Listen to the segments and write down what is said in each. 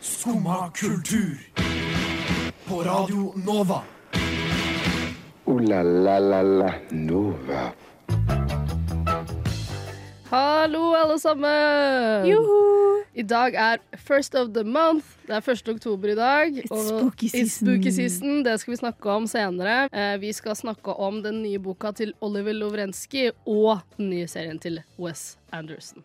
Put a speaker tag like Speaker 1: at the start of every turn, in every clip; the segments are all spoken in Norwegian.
Speaker 1: Skumma kultur. På Radio Nova.
Speaker 2: Ooh la la la la Nova.
Speaker 3: Hallo, alle sammen!
Speaker 4: Joho!
Speaker 3: I dag er first of the month. Det er 1. oktober i dag.
Speaker 4: It's spooky
Speaker 3: it's
Speaker 4: season.
Speaker 3: spooky season. Det skal vi snakke om senere. Eh, vi skal snakke om den nye boka til Oliver Lovrenskij og den nye serien til Wes Anderson.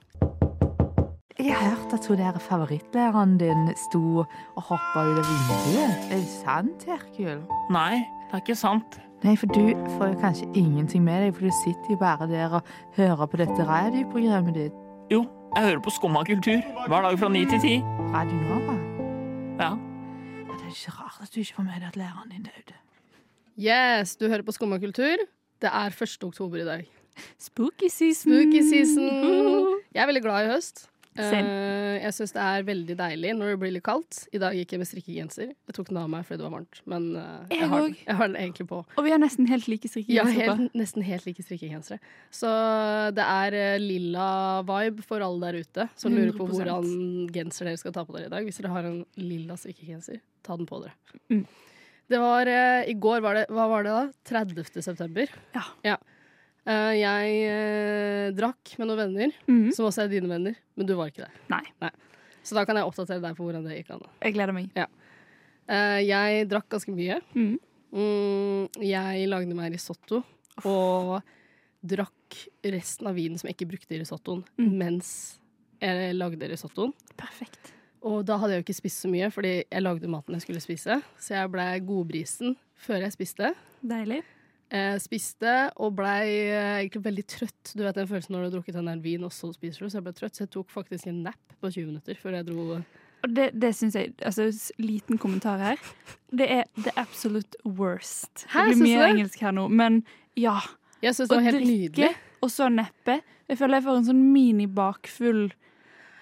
Speaker 4: Jeg har hørt at hun der favorittlæreren din sto og hoppa ut av vinduet. Er det sant, Herkul?
Speaker 5: Nei, det er ikke sant.
Speaker 4: Nei, for du får jo kanskje ingenting med deg, for du sitter jo bare der og hører på dette radioprogrammet ditt.
Speaker 5: Jo, jeg hører på Skumma kultur hver dag fra ni til ti.
Speaker 4: Radio Nova.
Speaker 5: Ja.
Speaker 4: Ja, Det er ikke rart at du ikke får med deg at læreren din døde.
Speaker 3: Yes, du hører på Skumma kultur. Det er 1. oktober i dag.
Speaker 4: Spooky season.
Speaker 3: Spooky season. Jeg er veldig glad i høst.
Speaker 4: Same.
Speaker 3: Eh, jeg syns det er veldig deilig når det blir litt kaldt. I dag gikk jeg med strikkegenser. Jeg tok den av meg fordi det var varmt, men eh, jeg,
Speaker 6: Jeg
Speaker 3: har den,
Speaker 6: òg.
Speaker 3: jeg har den egentlig på.
Speaker 6: Og vi har nesten helt like strikker.
Speaker 3: Ja, helt, nesten helt like strikkegensere. Så det er eh, lilla vibe for alle der ute som lurer på
Speaker 6: 100%.
Speaker 3: hvordan genser dere skal ta på dere i dag. Hvis dere har en lilla strikkegenser, ta den på dere.
Speaker 6: Mm.
Speaker 3: Det var eh, I går var det Hva var det da? 30. september.
Speaker 6: Ja.
Speaker 3: Eh, jeg eh, drakk med noen venner,
Speaker 6: Mhm.
Speaker 3: som også er dine venner, men du var ikke der.
Speaker 6: Nei,
Speaker 3: Så da kan jeg oppdatere deg på hvordan det gikk an.
Speaker 6: jeg gleder meg.
Speaker 3: Eh, jeg drakk ganske mye.
Speaker 6: Mhm.
Speaker 3: Mm, jeg lagde meg risotto og drakk resten av vinen som jeg ikke brukte i risottoen,
Speaker 6: Mm.
Speaker 3: mens jeg lagde risottoen.
Speaker 6: Perfekt.
Speaker 3: Og da hadde jeg jo ikke spist så mye, fordi jeg lagde maten jeg skulle spise. Så jeg blei godbrisen før jeg spiste.
Speaker 6: Deilig.
Speaker 3: Eh, spiste og blei eh, egentlig veldig trøtt. Du vet den følelsen når du har drukket en del vin, og så spiser du. Så jeg ble trøtt, så jeg tok faktisk en nap på 20 minutter før jeg dro.
Speaker 6: Og det, det syns jeg Altså, s- liten kommentar her. Det er the absolute worst.
Speaker 3: Hæ,
Speaker 6: det
Speaker 3: syns du
Speaker 6: blir mye
Speaker 3: det?
Speaker 6: engelsk her nå, men ja.
Speaker 3: Jeg syns det var helt nydelig.
Speaker 6: og så neppe. Jeg føler jeg får en sånn mini-bakfull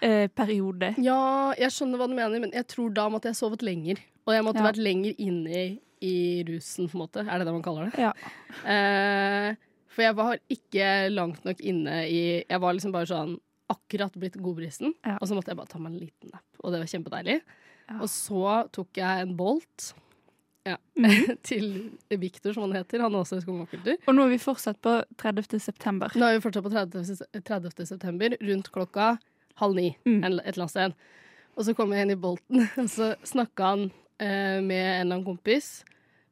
Speaker 6: eh, periode.
Speaker 3: Ja, jeg skjønner hva du mener, men jeg tror da måtte jeg sovet lenger. Og jeg måtte
Speaker 6: Ja.
Speaker 3: vært lenger inne i, i rusen, på en måte. Er det det man kaller det?
Speaker 6: Ja.
Speaker 3: Eh, for jeg var ikke langt nok inne i Jeg var liksom bare sånn akkurat blitt godbrisen,
Speaker 6: Ja.
Speaker 3: og så måtte jeg bare ta meg en liten nap, og det var kjempedeilig.
Speaker 6: Ja.
Speaker 3: Og så tok jeg en bolt ja,
Speaker 6: Mm.
Speaker 3: til Victor, som han heter. Han er også skummakultur.
Speaker 6: Og nå er vi fortsatt på 30. september.
Speaker 3: Nå er vi fortsatt på 30. se- 30. september, rundt klokka halv ni
Speaker 6: Mm.
Speaker 3: en- et eller annet sted. Og så kom jeg inn i Bolten, og så snakka han eh, med en eller annen kompis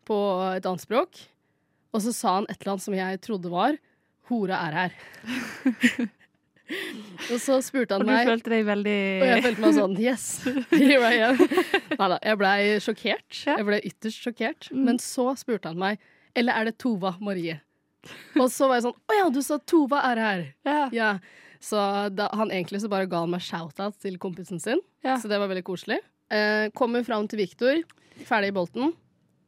Speaker 3: på et annet språk. Og så sa han et eller annet som jeg trodde var 'Hora er her'. og så spurte han
Speaker 6: Og du
Speaker 3: meg
Speaker 6: følte deg veldig
Speaker 3: og jeg følte meg sånn Yes, here I am. Neida, jeg blei sjokkert. Jeg blei ytterst sjokkert. Men så spurte han meg Eller er det Tova Marie. Og så var jeg sånn Å ja, du sa Tova er her.
Speaker 6: ja.
Speaker 3: Ja. Så da, han egentlig så bare ga han meg shout-out til kompisen sin.
Speaker 6: Ja.
Speaker 3: Så det var veldig koselig. Eh, kommer fram til Viktor, ferdig i bolten.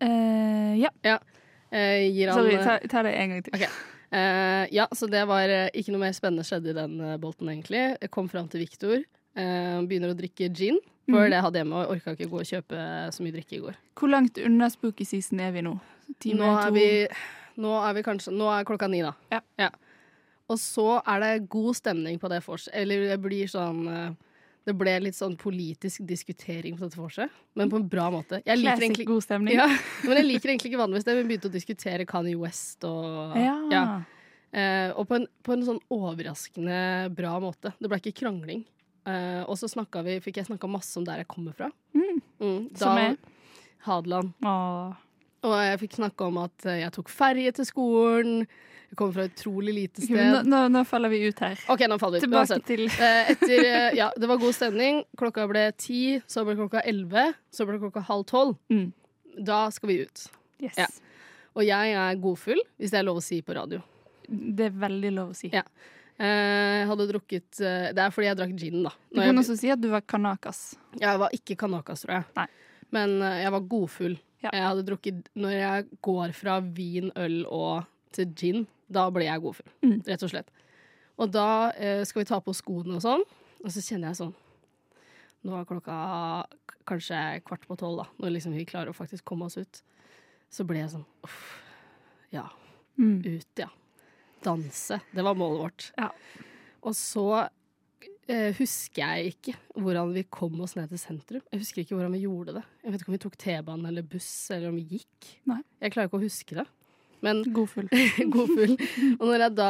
Speaker 6: Eh, ja.
Speaker 3: Eh, gir han
Speaker 6: Sorry, ta, ta det en gang til.
Speaker 3: Ok. Eh, ja, så det var eh, ikke noe mer spennende skjedde i den eh, bolten, egentlig. Jeg kom fram til Viktor. eh, begynner å drikke gin. For
Speaker 6: Mhm.
Speaker 3: det jeg hadde hjemme, og orka ikke gå og kjøpe eh, så mye drikke i går.
Speaker 6: Hvor langt unna spooky season er vi nå? Time
Speaker 3: Nå er,
Speaker 6: to?
Speaker 3: vi, nå er vi kanskje Nå er klokka ni, da.
Speaker 6: Ja.
Speaker 3: Og så er det god stemning på det vorset. Eller det blir sånn eh, Det ble litt sånn politisk diskutering på dette vorset, men på en bra måte. Jeg liker
Speaker 6: Classic
Speaker 3: egentlig
Speaker 6: god stemning.
Speaker 3: ja, men jeg liker egentlig ikke vanligvis det. Vi begynte å diskutere Kanye West og
Speaker 6: Ja.
Speaker 3: Ja. Eh, og på en, på en sånn overraskende bra måte. Det ble ikke krangling. Eh, og så snakka vi, fikk jeg snakka masse om der jeg kommer fra.
Speaker 6: Mm.
Speaker 3: Mm,
Speaker 6: Som er?
Speaker 3: Hadeland.
Speaker 6: Åh.
Speaker 3: Og jeg fikk snakke om at eh, jeg tok ferje til skolen. Jeg kommer fra et utrolig lite
Speaker 6: Ok, men Nå,
Speaker 3: sted.
Speaker 6: nå, nå faller vi ut her.
Speaker 3: OK, nå faller vi ut.
Speaker 6: Tilbake
Speaker 3: Uansett.
Speaker 6: til
Speaker 3: Eh, etter, eh, ja, det var god stemning. Klokka ble ti, så ble klokka elleve, så ble klokka halv tolv.
Speaker 6: Mm.
Speaker 3: Da skal vi ut.
Speaker 6: Yes.
Speaker 3: Ja. Og jeg er godfull, hvis det er lov å si på radio.
Speaker 6: Det er veldig lov å si.
Speaker 3: Ja. Eh, Jeg hadde drukket eh, Det er fordi jeg drakk gin, da.
Speaker 6: Du
Speaker 3: Når
Speaker 6: kan
Speaker 3: jeg,
Speaker 6: også si at du var kanakas.
Speaker 3: jeg var ikke kanakas, tror jeg.
Speaker 6: Nei.
Speaker 3: Men eh, jeg var godfull.
Speaker 6: Ja.
Speaker 3: Jeg hadde drukket Når jeg går fra vin, øl og til gin, da blir jeg godfull.
Speaker 6: Mm.
Speaker 3: Rett og slett. Og da eh, skal vi ta på skoene og sånn, og så kjenner jeg sånn Nå er klokka k- kanskje kvart på tolv, da, når liksom vi klarer å faktisk komme oss ut. Så ble jeg sånn Uff. Ja.
Speaker 6: Mm.
Speaker 3: Ut, ja. Danse. Det var målet vårt.
Speaker 6: Ja.
Speaker 3: Og så eh, husker jeg ikke hvordan vi kom oss ned til sentrum. Jeg husker ikke hvordan vi gjorde det. Jeg vet ikke om vi tok T-banen eller buss, eller om vi gikk.
Speaker 6: Nei.
Speaker 3: Jeg klarer ikke å huske det. Men
Speaker 6: God full.
Speaker 3: god fugl. Og når jeg da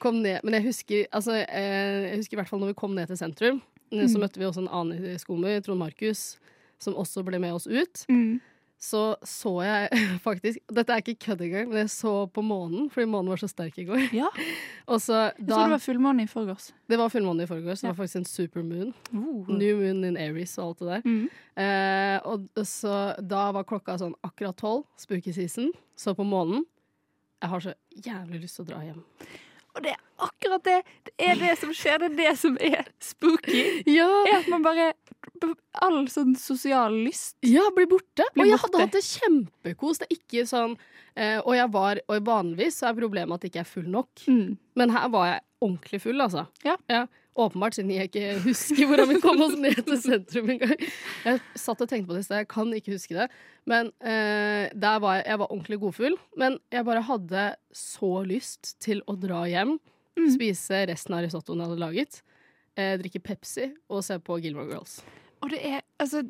Speaker 3: kom ned Men jeg husker, altså, eh, jeg husker i hvert fall når vi kom ned til sentrum,
Speaker 6: Mm.
Speaker 3: eh, så møtte vi også en annen skomer, Trond Markus, som også ble med oss ut.
Speaker 6: Mm.
Speaker 3: Så så jeg faktisk Dette er ikke kødd engang, men jeg så på månen, fordi månen var så sterk i går.
Speaker 6: Ja,
Speaker 3: Og så
Speaker 6: jeg så det
Speaker 3: da
Speaker 6: var fullmåne i forgårs.
Speaker 3: Det var fullmåne i forgårs, så det
Speaker 6: Ja.
Speaker 3: var faktisk en supermoon.
Speaker 6: Uh.
Speaker 3: New moon in Aries og alt det der.
Speaker 6: Mm.
Speaker 3: Eh, og så da var klokka sånn akkurat tolv, spooky season, så på månen. Jeg har så jævlig lyst til å dra hjem.
Speaker 6: Og det er akkurat det! Det er det som skjer, det er det som er spooky.
Speaker 3: Ja,
Speaker 6: Er at man bare All sånn sosial lyst.
Speaker 3: Ja, bli borte.
Speaker 6: Bli
Speaker 3: og jeg
Speaker 6: borte.
Speaker 3: hadde hatt det kjempekos. Det er ikke sånn eh, Og jeg var Og vanligvis så er problemet at jeg ikke er full nok. Men her var jeg ordentlig full, altså.
Speaker 6: Ja.
Speaker 3: Åpenbart, siden jeg ikke husker hvordan vi kom oss ned til sentrum engang. Jeg satt og tenkte på det i sted, jeg kan ikke huske det. Men eh, der var jeg Jeg var ordentlig godfull. Men jeg bare hadde så lyst til å dra hjem,
Speaker 6: Mm.
Speaker 3: spise resten av risottoen jeg hadde laget, eh, drikke Pepsi og se på Gilmore Girls.
Speaker 6: Og det er Altså,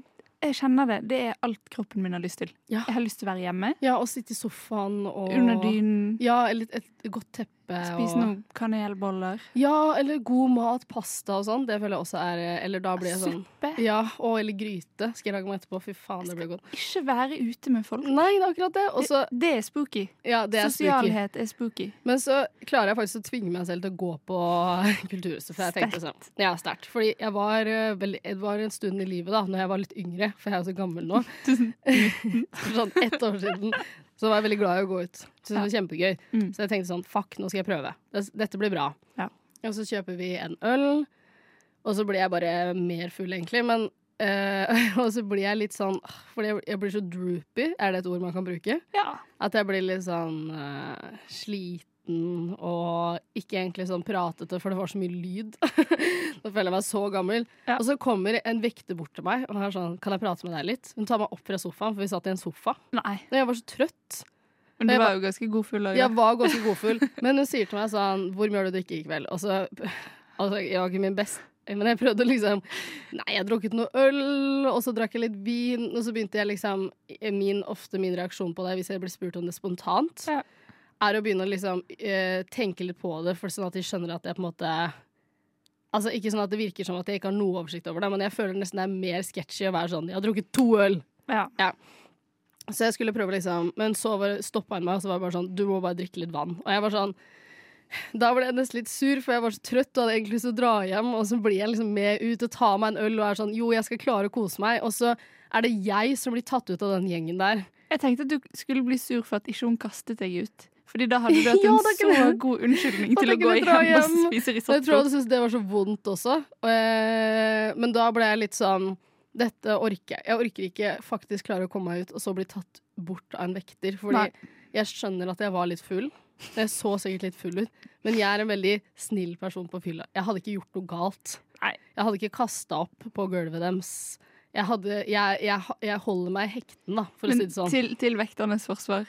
Speaker 6: jeg kjenner det. Det er alt kroppen min har lyst til.
Speaker 3: Ja.
Speaker 6: Jeg har lyst til å være hjemme.
Speaker 3: Ja, og sitte i sofaen og
Speaker 6: Under dynen.
Speaker 3: Ja, eller et, et godt teppe.
Speaker 6: Spise noen kanelboller.
Speaker 3: Og, ja, eller god mat, pasta og sånn. Det føler jeg også er Eller da blir jeg sånn
Speaker 6: Suppe.
Speaker 3: Ja, og eller gryte. Skal jeg lage meg etterpå? Fy faen, det blir godt.
Speaker 6: Ikke være ute med folk.
Speaker 3: Nei, det er akkurat det. Og så
Speaker 6: det, det er spooky.
Speaker 3: Ja, det er spooky.
Speaker 6: Sosialhet er spooky.
Speaker 3: Men så klarer jeg faktisk å tvinge meg selv til å gå på Kulturhuset. For jeg tenkte sånn Ja, sterkt. Fordi jeg var eh, veldig Det var en stund i livet da Når jeg var litt yngre, for jeg er jo så gammel nå. sånn ett år siden. Så var jeg veldig glad i å gå ut. Syntes det var kjempegøy.
Speaker 6: Mm.
Speaker 3: Så jeg tenkte sånn, fuck, nå skal jeg prøve. Det- Dette blir bra.
Speaker 6: Ja.
Speaker 3: Og så kjøper vi en øl, og så blir jeg bare mer full egentlig, men eh, og så blir jeg litt sånn ah, Fordi jeg- jeg blir så droopy, er det et ord man kan bruke?
Speaker 6: Ja.
Speaker 3: At jeg blir litt sånn eh, sliten og ikke egentlig sånn pratete, for det var så mye lyd. Nå føler jeg meg så gammel.
Speaker 6: Ja.
Speaker 3: Og så kommer en vekter bort til meg og er sånn Kan jeg prate med deg litt? Hun tar meg opp fra sofaen, for vi satt i en sofa.
Speaker 6: Nei.
Speaker 3: Og jeg var så trøtt.
Speaker 6: Men du
Speaker 3: Jeg
Speaker 6: var jo ganske god full òg.
Speaker 3: Jeg var ganske godfull, men hun sier til meg sånn Hvor mye har du drukket i kveld? Og så Altså, jeg var ikke min beste, men jeg prøvde liksom Nei, jeg har drukket noe øl, og så drakk jeg litt vin, og så begynte jeg liksom min, Ofte min reaksjon på det, hvis jeg blir spurt om det spontant,
Speaker 6: Ja.
Speaker 3: er å begynne å liksom eh, tenke litt på det, for sånn at de skjønner at jeg på en måte Altså Ikke sånn at det virker som at jeg ikke har noe oversikt over det, men jeg føler nesten det er mer sketchy å være sånn Jeg har drukket to øl!
Speaker 6: Ja.
Speaker 3: Så jeg skulle prøve, liksom. Men så var- stoppa han meg, og så var det bare sånn Du må bare drikke litt vann. Og jeg var sånn Da ble jeg nesten litt sur, for jeg var så trøtt og hadde egentlig lyst til å dra hjem. Og så blir jeg liksom med ut og tar meg en øl og er sånn Jo, jeg skal klare å kose meg. Og så er det jeg som blir tatt ut av den gjengen der.
Speaker 6: Jeg tenkte at du skulle bli sur for at ikke hun kastet deg ut. Fordi da hadde du hatt
Speaker 3: Ja,
Speaker 6: en
Speaker 3: da
Speaker 6: så
Speaker 3: kunne-
Speaker 6: god unnskyldning
Speaker 3: Da
Speaker 6: til å gå
Speaker 3: kunne jeg
Speaker 6: hjem,
Speaker 3: dra
Speaker 6: og
Speaker 3: hjem.
Speaker 6: spise
Speaker 3: Og jeg tror
Speaker 6: risotto.
Speaker 3: du syntes det var så vondt også. Og, eh, men da ble jeg litt sånn Dette orker jeg. Jeg orker ikke faktisk klare å komme meg ut, og så bli tatt bort av en vekter. Fordi
Speaker 6: Nei.
Speaker 3: jeg skjønner at jeg var litt full. Jeg så sikkert litt full ut, men jeg er en veldig snill person på fylla. Jeg hadde ikke gjort noe galt.
Speaker 6: Nei.
Speaker 3: Jeg hadde ikke kasta opp på gulvet deres. Jeg, hadde, jeg, jeg, jeg holder meg i hekten, da, for å
Speaker 6: Men
Speaker 3: si det sånn.
Speaker 6: til, til vekternes forsvar,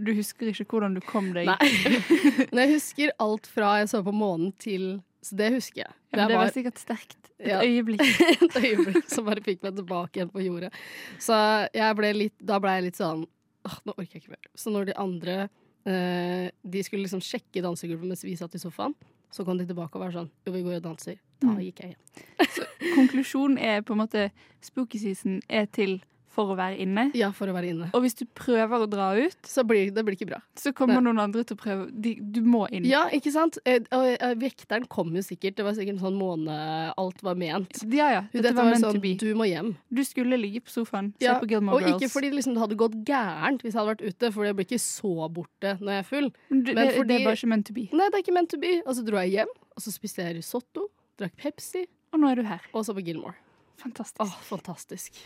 Speaker 6: du husker ikke hvordan du kom deg
Speaker 3: Nei. Men jeg husker alt fra jeg så på månen til Så det husker jeg.
Speaker 6: Ja, men
Speaker 3: Jeg
Speaker 6: det
Speaker 3: var-
Speaker 6: var sikkert sterkt. Et
Speaker 3: Ja.
Speaker 6: øyeblikk.
Speaker 3: et øyeblikk som bare fikk meg tilbake igjen på jordet. Så jeg ble litt, da ble jeg litt sånn Åh, nå orker jeg ikke mer. Så når de andre eh, De skulle liksom sjekke dansegulvet mens vi satt i sofaen, så kom de tilbake og var sånn Jo, vi går og danser. Da
Speaker 6: Mm.
Speaker 3: gikk jeg hjem.
Speaker 6: Konklusjonen er på en måte spooky season er til for å være inne.
Speaker 3: Ja, for å være inne.
Speaker 6: Og hvis du prøver å dra ut,
Speaker 3: Så blir, det blir ikke bra.
Speaker 6: så kommer noen andre til å prøve. De, du må inn.
Speaker 3: Ja, ikke sant? Eh, Og eh, vekteren kom jo sikkert. Det var sikkert en sånn måne Alt var ment.
Speaker 6: ja, ja.
Speaker 3: Dette,
Speaker 6: Dette var meant to
Speaker 3: sånn
Speaker 6: be.
Speaker 3: Du må hjem.
Speaker 6: Du skulle ligge på sofaen, se
Speaker 3: Ja,
Speaker 6: på Gilmore
Speaker 3: og
Speaker 6: Girls.
Speaker 3: ikke fordi liksom, det hadde gått gærent hvis jeg hadde vært ute, for jeg blir ikke så borte når jeg er full.
Speaker 6: Men du,
Speaker 3: men
Speaker 6: det, det
Speaker 3: fordi-
Speaker 6: er bare ikke meant to be.
Speaker 3: Nei, det er ikke meant to be. Og så dro jeg hjem, og så spiste jeg risotto, drakk Pepsi,
Speaker 6: Og nå er du her.
Speaker 3: og så på Gilmore.
Speaker 6: Fantastisk.
Speaker 3: Åh, fantastisk.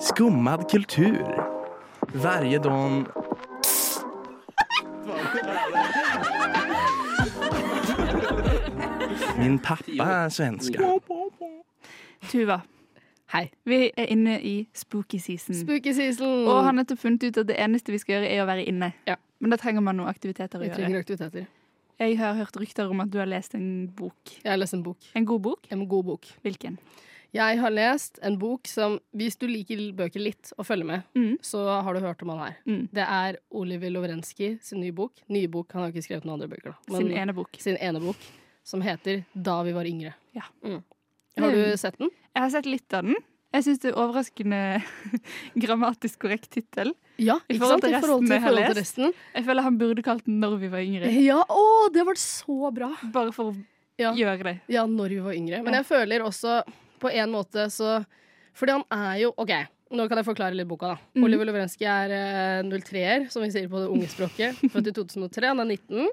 Speaker 7: Skummad kultur. Varje dag... Min pappa är svenska.
Speaker 6: Tuva,
Speaker 3: Hei.
Speaker 6: vi er inne i spooky season.
Speaker 3: Spooky season.
Speaker 6: Og han har nettopp funnet ut at det eneste vi skal gjøre, er å være inne.
Speaker 3: Ja.
Speaker 6: Men da trenger man noen aktiviteter å
Speaker 3: Vi
Speaker 6: gjøre.
Speaker 3: trenger aktiviteter.
Speaker 6: Jeg har hørt rykter om at du har lest en bok.
Speaker 3: Jeg har lest en bok.
Speaker 6: En god bok?
Speaker 3: En god bok.
Speaker 6: Hvilken?
Speaker 3: Jeg har lest en bok som, hvis du liker bøker litt og følger med,
Speaker 6: Mm.
Speaker 3: så har du hørt om han her.
Speaker 6: Mm.
Speaker 3: Det er Oliver Lovrenskij sin nye bok. Nye bok, han har ikke skrevet noen andre bøker. da. Men-
Speaker 6: Sin ene bok.
Speaker 3: sin ene bok, som heter Da vi var yngre.
Speaker 6: Ja. Ehm.
Speaker 3: Mm. Har du sett den?
Speaker 6: Jeg har sett litt av den. Jeg syns det er overraskende grammatisk korrekt tittel.
Speaker 3: Ja,
Speaker 6: I
Speaker 3: ikke sant?
Speaker 6: forhold til
Speaker 3: I forhold
Speaker 6: resten
Speaker 3: til,
Speaker 6: jeg har
Speaker 3: forhold til resten.
Speaker 6: Jeg føler han burde kalt den 'Når vi var yngre'.
Speaker 3: Ja, å, det var så bra!
Speaker 6: Bare for å
Speaker 3: Ja.
Speaker 6: gjøre det.
Speaker 3: Ja, når vi var yngre. Men
Speaker 6: Ja.
Speaker 3: jeg føler også, på en måte, så Fordi han er jo OK, nå kan jeg forklare litt boka, da.
Speaker 6: Mhm.
Speaker 3: Oliver Lovrenskij er eh, 03-er, som vi sier på det unge språket. Født i 2003, han er 19.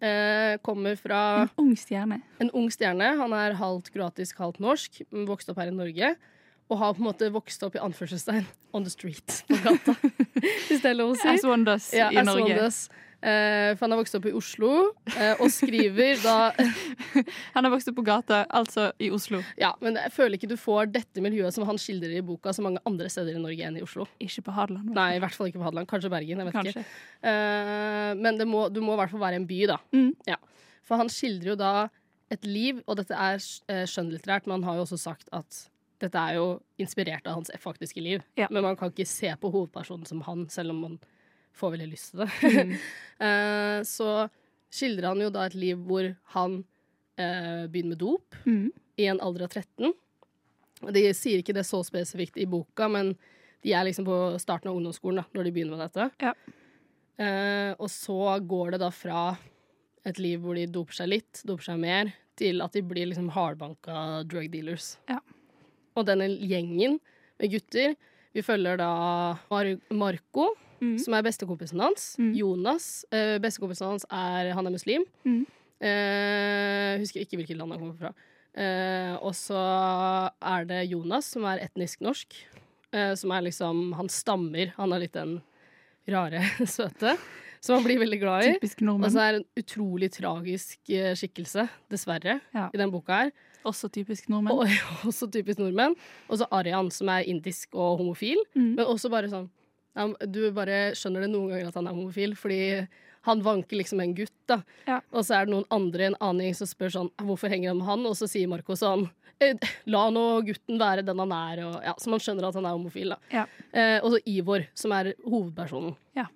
Speaker 3: Eh, kommer fra
Speaker 6: En ung stjerne.
Speaker 3: En ung stjerne. Han er halvt kroatisk, halvt norsk. men Vokste opp her i Norge. Og har på en måte vokst opp i anførselstegn on the street på gata, hvis det er lov å si.
Speaker 6: As one does
Speaker 3: Ja,
Speaker 6: i
Speaker 3: as
Speaker 6: Norge.
Speaker 3: one does. Eh, for han har vokst opp i Oslo, eh, og skriver da
Speaker 6: Han har vokst opp på gata, altså i Oslo.
Speaker 3: Ja, men jeg føler ikke du får dette miljøet som han skildrer i boka, så mange andre steder i Norge enn i Oslo.
Speaker 6: Ikke på Hadeland.
Speaker 3: Nei, i hvert fall ikke på Hadeland. Kanskje Bergen. jeg vet ikke.
Speaker 6: kanskje.
Speaker 3: Eh, men det må, du må i hvert fall være en by, da.
Speaker 6: Mm.
Speaker 3: Ja. For han skildrer jo da et liv, og dette er eh, skjønnlitterært, men han har jo også sagt at dette er jo inspirert av hans e, faktiske liv.
Speaker 6: Ja.
Speaker 3: Men man kan ikke se på hovedpersonen som han, selv om man får veldig lyst til det.
Speaker 6: Mm.
Speaker 3: Eh, så skildrer han jo da et liv hvor han eh, begynner med dop
Speaker 6: Mm.
Speaker 3: i en alder av 13. Og De sier ikke det så spesifikt i boka, men de er liksom på starten av ungdomsskolen da, når de begynner med dette.
Speaker 6: Ja.
Speaker 3: Eh, og så går det da fra et liv hvor de doper seg litt, doper seg mer, til at de blir liksom hardbanka drug dealers.
Speaker 6: Ja.
Speaker 3: Og denne gjengen med gutter Vi følger da Mar Marco,
Speaker 6: Mm.
Speaker 3: som er bestekompisen hans.
Speaker 6: Mm.
Speaker 3: Jonas. Eh, bestekompisen hans er Han er muslim.
Speaker 6: Mm.
Speaker 3: Eh, husker ikke hvilket land han kommer fra. Eh, og så er det Jonas, som er etnisk norsk. Eh, som er liksom Han stammer. Han er litt den rare, søte. Som han blir veldig glad i.
Speaker 6: Typisk
Speaker 3: Og
Speaker 6: nordmenn.
Speaker 3: så er det en utrolig tragisk eh, skikkelse, dessverre,
Speaker 6: Ja.
Speaker 3: i den boka her.
Speaker 6: Også typisk nordmenn.
Speaker 3: Og, også typisk nordmenn. Og så Arian, som er indisk og homofil.
Speaker 6: Mm.
Speaker 3: Men også bare sånn ja, Du bare skjønner det noen ganger at han er homofil, fordi han vanker liksom en gutt, da.
Speaker 6: Ja.
Speaker 3: Og så er det noen andre i en annen gjeng som spør sånn Hvorfor henger han med han? Og så sier Marco sånn «Eh, La nå gutten være den han er, og ja, så man skjønner at han er homofil, da.
Speaker 6: Ja.
Speaker 3: Eh, og så Ivor, som er hovedpersonen.
Speaker 6: Ja.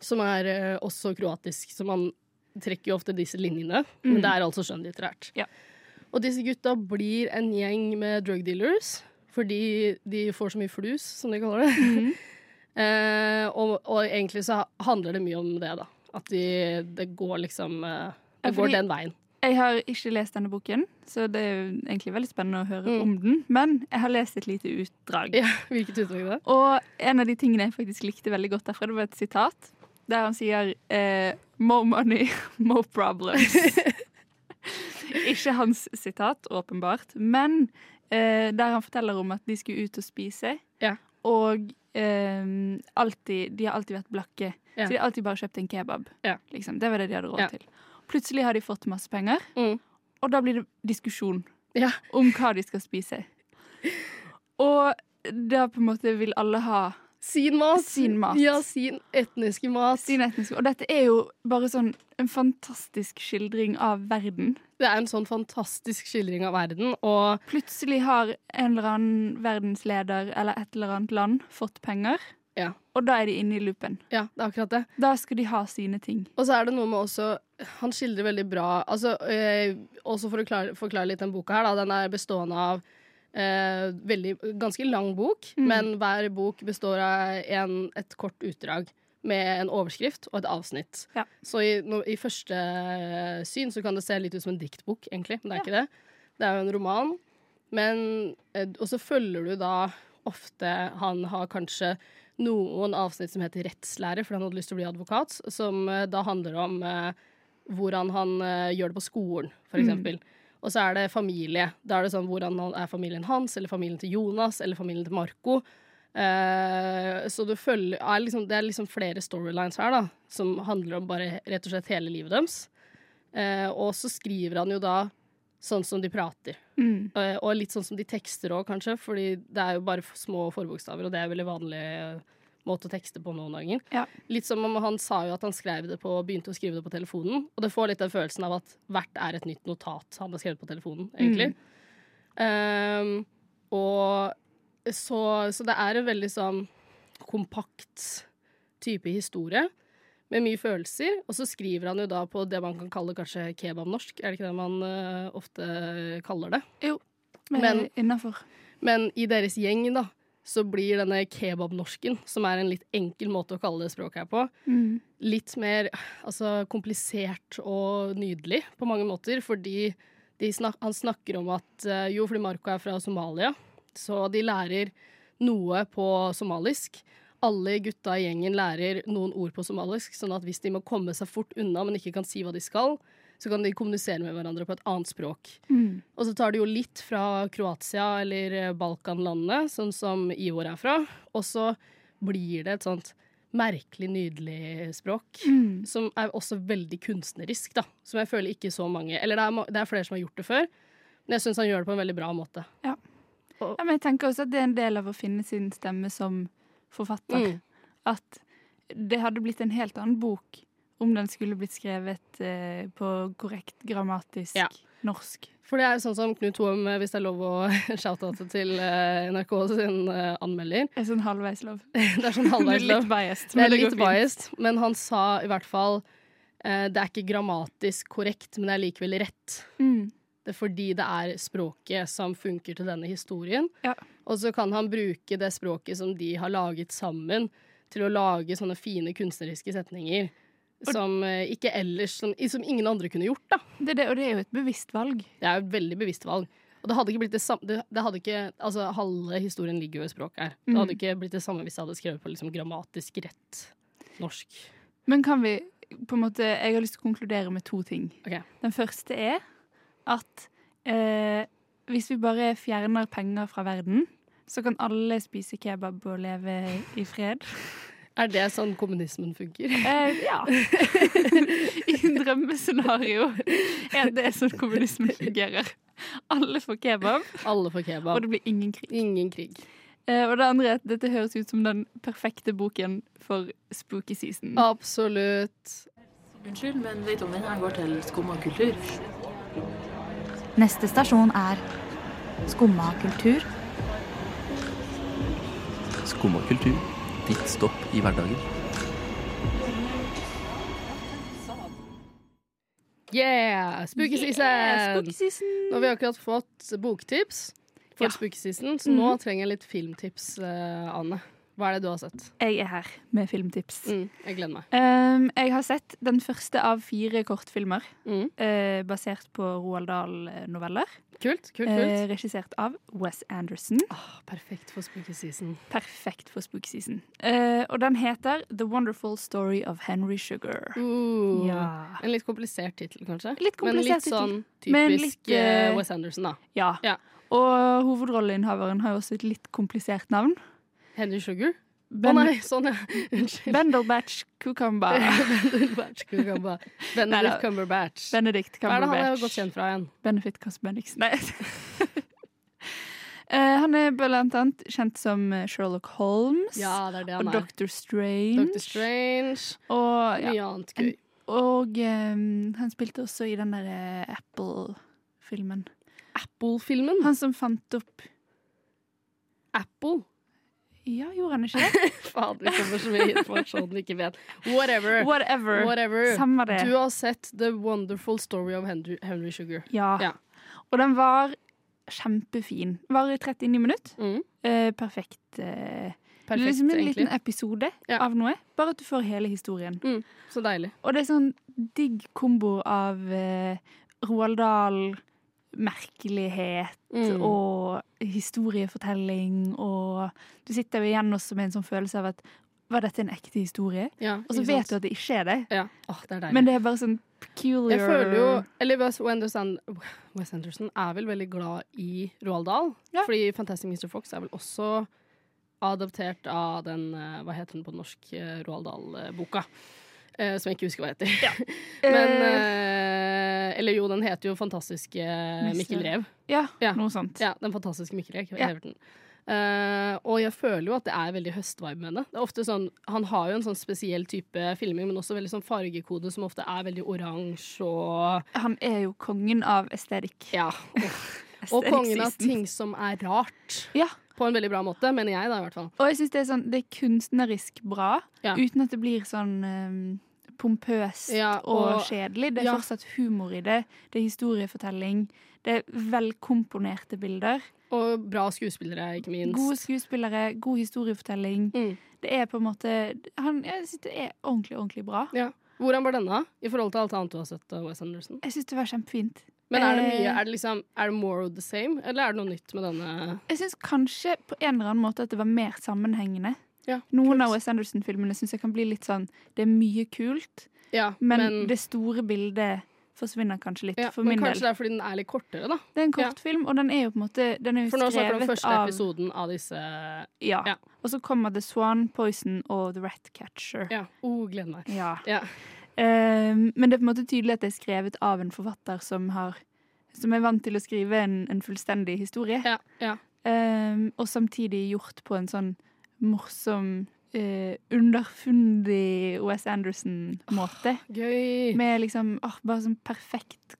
Speaker 3: Som er eh, også kroatisk, som han trekker jo ofte disse linjene,
Speaker 6: Mm.
Speaker 3: men det er altså skjønnlitterært.
Speaker 6: Ja.
Speaker 3: Og disse gutta blir en gjeng med drug dealers, fordi de får så mye flus, som de kaller det.
Speaker 6: Mm.
Speaker 3: Eh, og, og egentlig så handler det mye om det, da. At de, det går liksom eh,
Speaker 6: Ja,
Speaker 3: Det går
Speaker 6: fordi-
Speaker 3: den veien.
Speaker 6: Jeg har ikke lest denne boken, så det er jo egentlig veldig spennende å høre
Speaker 3: Mm.
Speaker 6: om den. Men jeg har lest et lite utdrag.
Speaker 3: Ja, Hvilket uttrykk det er?
Speaker 6: Og en av de tingene jeg faktisk likte veldig godt derfra, det var et sitat der han sier eh, More money, more problems. Ikke hans sitat, åpenbart, men eh, der han forteller om at de skulle ut og spise,
Speaker 3: Ja.
Speaker 6: og eh, alltid, de har alltid vært blakke.
Speaker 3: Ja.
Speaker 6: Så de har alltid bare kjøpt en kebab.
Speaker 3: Ja.
Speaker 6: Liksom. Det var det de hadde råd
Speaker 3: Ja.
Speaker 6: til. Plutselig har de fått masse penger,
Speaker 3: Mm.
Speaker 6: og da blir det diskusjon
Speaker 3: Ja.
Speaker 6: om hva de skal spise. Og da på en måte vil alle ha
Speaker 3: Sin mat.
Speaker 6: Sin mat.
Speaker 3: Ja, sin etniske mat.
Speaker 6: sin etniske Og dette er jo bare sånn en fantastisk skildring av verden.
Speaker 3: Det er en sånn fantastisk skildring av verden, og
Speaker 6: Plutselig har en eller annen verdensleder eller et eller annet land fått penger,
Speaker 3: Ja.
Speaker 6: og da er de inne i loopen.
Speaker 3: ja, det er akkurat det.
Speaker 6: Da skal de ha sine ting.
Speaker 3: Og så er det noe med også Han skildrer veldig bra altså, eh, Også for å klare, forklare litt den boka her, da. Den er bestående av eh, veldig, ganske lang bok,
Speaker 6: Mm.
Speaker 3: men hver bok består av en, et kort utdrag. Med en overskrift og et avsnitt.
Speaker 6: Ja.
Speaker 3: Så i, no, i første eh, syn så kan det se litt ut som en diktbok, egentlig, men det er ikke det. Det er jo en roman. Men, eh, og så følger du da ofte Han har kanskje noen avsnitt som heter rettslære, fordi han hadde lyst til å bli advokat, som eh, da handler om eh, hvordan han eh, gjør det på skolen, for
Speaker 6: Mm.
Speaker 3: eksempel. Og så er det familie. Da er det sånn hvordan han- er familien hans, eller familien til Jonas, eller familien til Marco. Eh, så du følger, er liksom, det er liksom flere storylines her, da, som handler om bare rett og slett hele livet deres. Eh, og så skriver han jo da sånn som de prater.
Speaker 6: Mm.
Speaker 3: Eh, Og litt sånn som de tekster òg, kanskje, fordi det er jo bare f- små forbokstaver, og det er veldig vanlig eh, måte å tekste på nå om dagen.
Speaker 6: Ja.
Speaker 3: Litt som om han sa jo at han skrev det på, begynte å skrive det på telefonen. Og det får litt den følelsen av at hvert er et nytt notat han har skrevet på telefonen, egentlig. Ehm, og så, så det er en veldig sånn kompakt type historie. Med mye følelser. Og så skriver han jo da på det man kan kalle kanskje kebabnorsk. Er det ikke det man eh, ofte kaller det? Men-
Speaker 6: Men innafor.
Speaker 3: Men i deres gjeng, da, så blir denne kebabnorsken, som er en litt enkel måte å kalle det språket her på,
Speaker 6: Mm.
Speaker 3: litt mer altså, komplisert og nydelig på mange måter, fordi de snak han snakker om at eh, jo, fordi Marco er fra Somalia, så de lærer noe på somalisk. Alle gutta i gjengen lærer noen ord på somalisk, sånn at hvis de må komme seg fort unna, men ikke kan si hva de skal, så kan de kommunisere med hverandre på et annet språk.
Speaker 6: Mm.
Speaker 3: Og så tar de jo litt fra Kroatia eller eh, Balkanlandene, sånn som Ivor er fra. Og så blir det et sånt merkelig nydelig språk,
Speaker 6: Mm.
Speaker 3: som er også veldig kunstnerisk, da. Som jeg føler ikke så mange Eller det er, ma- det er flere som har gjort det før, men jeg syns han gjør det på en veldig bra måte.
Speaker 6: Ja, men jeg tenker også at det er en del av å finne sin stemme som forfatter.
Speaker 3: Mm.
Speaker 6: At det hadde blitt en helt annen bok om den skulle blitt skrevet eh, på korrekt grammatisk
Speaker 3: Ja.
Speaker 6: norsk.
Speaker 3: For det er jo sånn som Knut Hoem, eh, hvis det er lov å shout-oute til eh, NRK sin eh, anmelder.
Speaker 6: Det er sånn halvveis lov.
Speaker 3: Det er sånn halvveis
Speaker 6: litt
Speaker 3: lov.
Speaker 6: biased.
Speaker 3: Det er
Speaker 6: men liksom går
Speaker 3: litt
Speaker 6: fint.
Speaker 3: biased, men han sa i hvert fall eh, det er ikke grammatisk korrekt, men det er likevel rett.
Speaker 6: Mm.
Speaker 3: Det er fordi det er språket som funker til denne historien.
Speaker 6: Ja.
Speaker 3: Og så kan han bruke det språket som de har laget sammen, til å lage sånne fine kunstneriske setninger. Som eh, ikke ellers som, som ingen andre kunne gjort, da.
Speaker 6: Det er det, og det er jo et bevisst valg.
Speaker 3: Det er jo et veldig bevisst valg. Og det hadde ikke blitt det samme det, det hadde ikke, altså, Halve historien ligger jo i språket her. Det hadde
Speaker 6: Mm.
Speaker 3: ikke blitt det samme hvis jeg hadde skrevet på liksom, grammatisk rett norsk.
Speaker 6: Men kan vi på en måte Jeg har lyst til å konkludere med to ting.
Speaker 3: Ok.
Speaker 6: Den første er at eh, hvis vi bare fjerner penger fra verden, så kan alle spise kebab og leve i fred.
Speaker 3: Er det sånn kommunismen funker?
Speaker 6: Eh, ja. I en drømmescenario er det sånn kommunismen fungerer. Alle får kebab,
Speaker 3: Alle får
Speaker 6: og
Speaker 3: kebab.
Speaker 6: det blir ingen krig.
Speaker 3: Ingen krig.
Speaker 6: Eh, og det andre er at dette høres ut som den perfekte boken for spooky season.
Speaker 3: Absolutt.
Speaker 8: Unnskyld, men Veitommen her går til skum og kultur.
Speaker 9: Neste stasjon er Skumma kultur.
Speaker 7: Skum og kultur. Ditt stopp i hverdagen.
Speaker 3: Yeah! Spooky season!
Speaker 6: Yeah, spooky season.
Speaker 3: Nå har vi akkurat fått boktips for
Speaker 6: Ja. Mm-hmm.
Speaker 3: spooky season, så nå trenger jeg litt filmtips, eh, Anne. Hva er det du har sett?
Speaker 6: Jeg er her med filmtips.
Speaker 3: Mm, jeg gleder meg.
Speaker 6: Um, jeg har sett den første av fire kortfilmer
Speaker 3: Mm.
Speaker 6: eh, basert på Roald Dahl-noveller.
Speaker 3: Kult, kult,
Speaker 6: eh,
Speaker 3: kult.
Speaker 6: regissert av Wes Anderson.
Speaker 3: Åh, perfekt for spooky season.
Speaker 6: Perfekt for spooky season. Eh, og den heter The Wonderful Story of Henry Sugar.
Speaker 3: Uh,
Speaker 6: Ja.
Speaker 3: En litt komplisert tittel, kanskje?
Speaker 6: Litt
Speaker 3: Men
Speaker 6: komplisert
Speaker 3: litt
Speaker 6: tittel.
Speaker 3: sånn
Speaker 6: Men
Speaker 3: typisk
Speaker 6: litt, eh,
Speaker 3: eh, Wes Anderson, da.
Speaker 6: Ja.
Speaker 3: Ja.
Speaker 6: Og hovedrolleinnehaveren har jo også et litt komplisert navn.
Speaker 3: Henry Sugar? Å
Speaker 6: Ben
Speaker 3: nei, sånn, ja. Unnskyld.
Speaker 6: Bendelbatch Cucumber.
Speaker 3: Benedict Cumberbatch. Benedict Cumberbatch.
Speaker 6: Benedict
Speaker 3: Hva er det han er
Speaker 6: Cumberbatch.
Speaker 3: godt kjent fra igjen?
Speaker 6: Benefit Casper Bendiksen. Nei. Eh, han er blant annet kjent som eh, Sherlock Holmes
Speaker 3: det er det
Speaker 6: og Doctor Strange.
Speaker 3: Doctor Strange.
Speaker 6: Og, Mm. ja.
Speaker 3: Mye annet gøy.
Speaker 6: og eh, han spilte også i den derre Apple-filmen.
Speaker 3: Apple-filmen.
Speaker 6: Han som fant opp
Speaker 3: Apple.
Speaker 6: Ja, gjorde han ikke det?
Speaker 3: Fader, det kommer så mye informasjon vi ikke vet. Whatever.
Speaker 6: Whatever.
Speaker 3: Whatever.
Speaker 6: Samme det.
Speaker 3: Du har sett The Wonderful Story of Henry, Henry Sugar.
Speaker 6: Ja.
Speaker 3: Ja.
Speaker 6: Og den var kjempefin. Varer i 39 minutter.
Speaker 3: Mm.
Speaker 6: Eh, perfekt. Eh,
Speaker 3: Perfekt,
Speaker 6: liksom en
Speaker 3: egentlig.
Speaker 6: liten episode
Speaker 3: Ja.
Speaker 6: av noe. Bare at du får hele historien.
Speaker 3: Så deilig.
Speaker 6: Og det er sånn digg kombo av eh, Roald Dahl, merkelighet
Speaker 3: Mm.
Speaker 6: og historiefortelling, og du sitter jo igjen også med en sånn følelse av at var dette en ekte historie?
Speaker 3: Ja,
Speaker 6: Og så
Speaker 3: ikke
Speaker 6: vet du
Speaker 3: sant?
Speaker 6: at det ikke er det,
Speaker 3: ja. Åh, det er deilig.
Speaker 6: men det er bare sånn peculiar
Speaker 3: jeg føler jo Eller Wes Anderson, Wes Anderson er vel veldig glad i Roald Dahl.
Speaker 6: Ja.
Speaker 3: Fordi Fantastic Mr. Fox er vel også adaptert av den eh, Hva heter den på norsk? eh, Roald Dahl-boka. Eh, som jeg ikke husker hva heter. Men eh, Eller jo, den heter jo Fantastiske Mikkel Rev.
Speaker 6: ja,
Speaker 3: ja.
Speaker 6: noe sånt.
Speaker 3: Ja, Den fantastiske Mikkel Rev.
Speaker 6: Ja.
Speaker 3: Everton. Eh, og jeg føler jo at det er veldig høstvibe med det. Det er ofte sånn, Han har jo en sånn spesiell type filming, men også veldig sånn fargekode som ofte er veldig oransje og
Speaker 6: Han er jo kongen av estetikk.
Speaker 3: Ja. Og, og
Speaker 6: Aesthetic
Speaker 3: kongen av
Speaker 6: season.
Speaker 3: ting som er rart.
Speaker 6: Ja.
Speaker 3: På en veldig bra måte, mener jeg, da, i hvert fall.
Speaker 6: Og jeg syns det, er sånn, det er kunstnerisk bra,
Speaker 3: Ja.
Speaker 6: uten at det blir sånn eh, pompøst
Speaker 3: Ja,
Speaker 6: og,
Speaker 3: og-
Speaker 6: kjedelig. Det er
Speaker 3: ja.
Speaker 6: fortsatt humor i det. Det er historiefortelling. Det er velkomponerte bilder.
Speaker 3: Og bra skuespillere, ikke minst.
Speaker 6: Gode skuespillere, god historiefortelling.
Speaker 3: Mm.
Speaker 6: Det er på en måte han, Jeg syns det er ordentlig, ordentlig bra.
Speaker 3: ja. Hvordan var denne i forhold til alt annet du har sett av Wes Anderson?
Speaker 6: Jeg syns det var kjempefint.
Speaker 3: Men er det mye,
Speaker 6: Eh.
Speaker 3: er det liksom, er det more of the same, eller er det noe nytt med denne?
Speaker 6: Jeg syns kanskje på en eller annen måte at det var mer sammenhengende.
Speaker 3: Ja,
Speaker 6: Noen av Wes Anderson-filmene syns jeg kan bli litt sånn Det er mye kult,
Speaker 3: Ja,
Speaker 6: men, det store bildet forsvinner kanskje litt,
Speaker 3: ja,
Speaker 6: for
Speaker 3: men
Speaker 6: min
Speaker 3: kanskje
Speaker 6: del.
Speaker 3: det er fordi den er litt kortere, da.
Speaker 6: Det er en kortfilm, og den er jo på en måte Den er jo
Speaker 3: For nå snakker du om
Speaker 6: skrevet
Speaker 3: første
Speaker 6: av
Speaker 3: episoden av disse
Speaker 6: ja.
Speaker 3: Ja.
Speaker 6: Og så kommer The Swan, Poison og The Rat Catcher.
Speaker 3: Ja. Oh, gleder meg.
Speaker 6: Ja.
Speaker 3: Ja.
Speaker 6: Eh, men det er på en måte tydelig at det er skrevet av en forfatter som har Som er vant til å skrive en, en fullstendig historie.
Speaker 3: Ja, ja.
Speaker 6: Ehm, og samtidig gjort på en sånn morsom, eh, underfundig Wes Anderson-måte.
Speaker 3: Gøy.
Speaker 6: Med liksom åh, bare sånn perfekt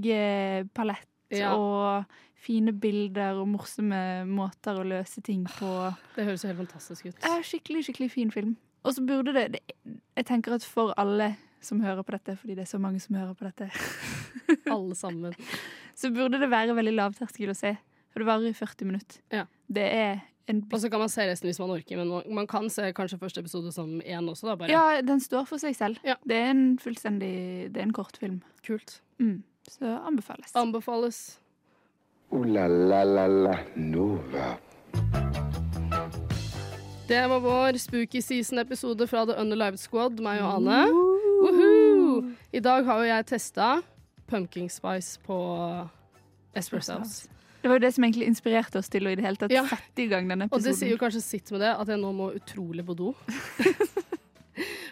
Speaker 6: fargepalett
Speaker 3: Ja.
Speaker 6: og fine bilder og morsomme måter å løse ting på.
Speaker 3: Det høres jo helt fantastisk ut.
Speaker 6: Eh, skikkelig, skikkelig fin film. Og så burde det, det Jeg tenker at for alle som hører på dette, fordi det er så mange som hører på dette,
Speaker 3: Alle sammen.
Speaker 6: så burde det være veldig lav terskel å se. For det varer i 40 minutter.
Speaker 3: Ja.
Speaker 6: Det er en
Speaker 3: Og så kan man se resten hvis man orker, men man- man kan se kanskje første episode som én også, da. Bare.
Speaker 6: Ja, den står for seg selv.
Speaker 3: Ja.
Speaker 6: Det er en fullstendig Det er en kortfilm.
Speaker 3: Kult.
Speaker 6: Mm. Så anbefales.
Speaker 3: Anbefales.
Speaker 2: Ooh la la la la Nova.
Speaker 3: Det var vår Spooky Season-episode fra The Underlived Squad, meg og Anne. Woohoo! I dag har jo jeg testa pumpkin spice på Espresso House.
Speaker 6: Det var jo det som egentlig inspirerte oss til å i det hele tatt
Speaker 3: Ja.
Speaker 6: sette i gang denne
Speaker 3: Og det
Speaker 6: episoden.
Speaker 3: sier jo kanskje sitt med det at jeg nå må utrolig på do.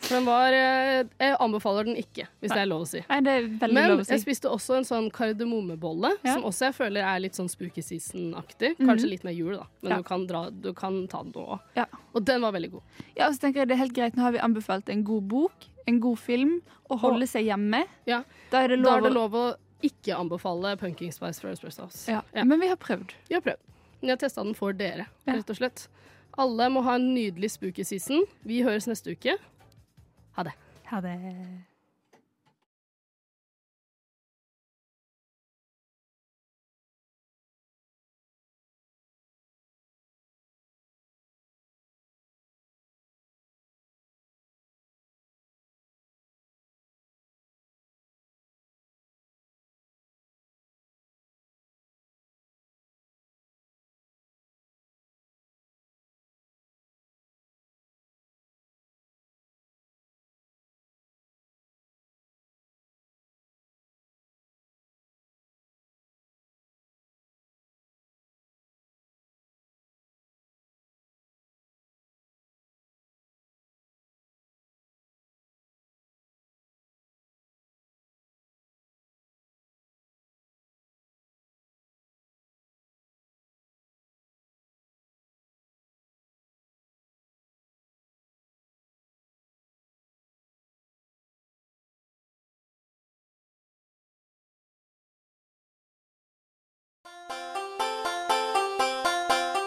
Speaker 3: For den var eh, Jeg anbefaler den ikke, hvis det er lov å si.
Speaker 6: Nei, det er veldig
Speaker 3: Men
Speaker 6: lov å si.
Speaker 3: jeg spiste også en sånn kardemommebolle,
Speaker 6: Ja. Mhm.
Speaker 3: som også jeg føler er litt sånn spooky season-aktig. Kanskje litt mer jul, da, men
Speaker 6: Ja.
Speaker 3: du, kan dra, du kan ta den nå òg.
Speaker 6: Ja.
Speaker 3: Og den var veldig god.
Speaker 6: Ja, og så tenker jeg det er helt greit. Nå har vi anbefalt en god bok, en god film, å holde seg hjemme.
Speaker 3: Ja.
Speaker 6: Da er det
Speaker 3: Da
Speaker 6: lov,
Speaker 3: er det
Speaker 6: å-
Speaker 3: lov å ikke anbefale Punking Spice fra Espresso House.
Speaker 6: Ja.
Speaker 3: Ja.
Speaker 6: Men vi har prøvd.
Speaker 3: Vi har prøvd. Men jeg har testa den for dere,
Speaker 6: Ja.
Speaker 3: rett og slett. Alle må ha en nydelig spooky season. Vi høres neste uke. Ha det.
Speaker 6: Ha det.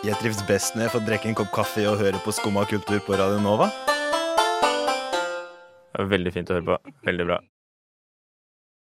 Speaker 10: Jeg trives best når jeg får drikke en kopp kaffe og høre på Skumma kultur på Radio Nova.
Speaker 11: Veldig fint å høre på. Veldig bra.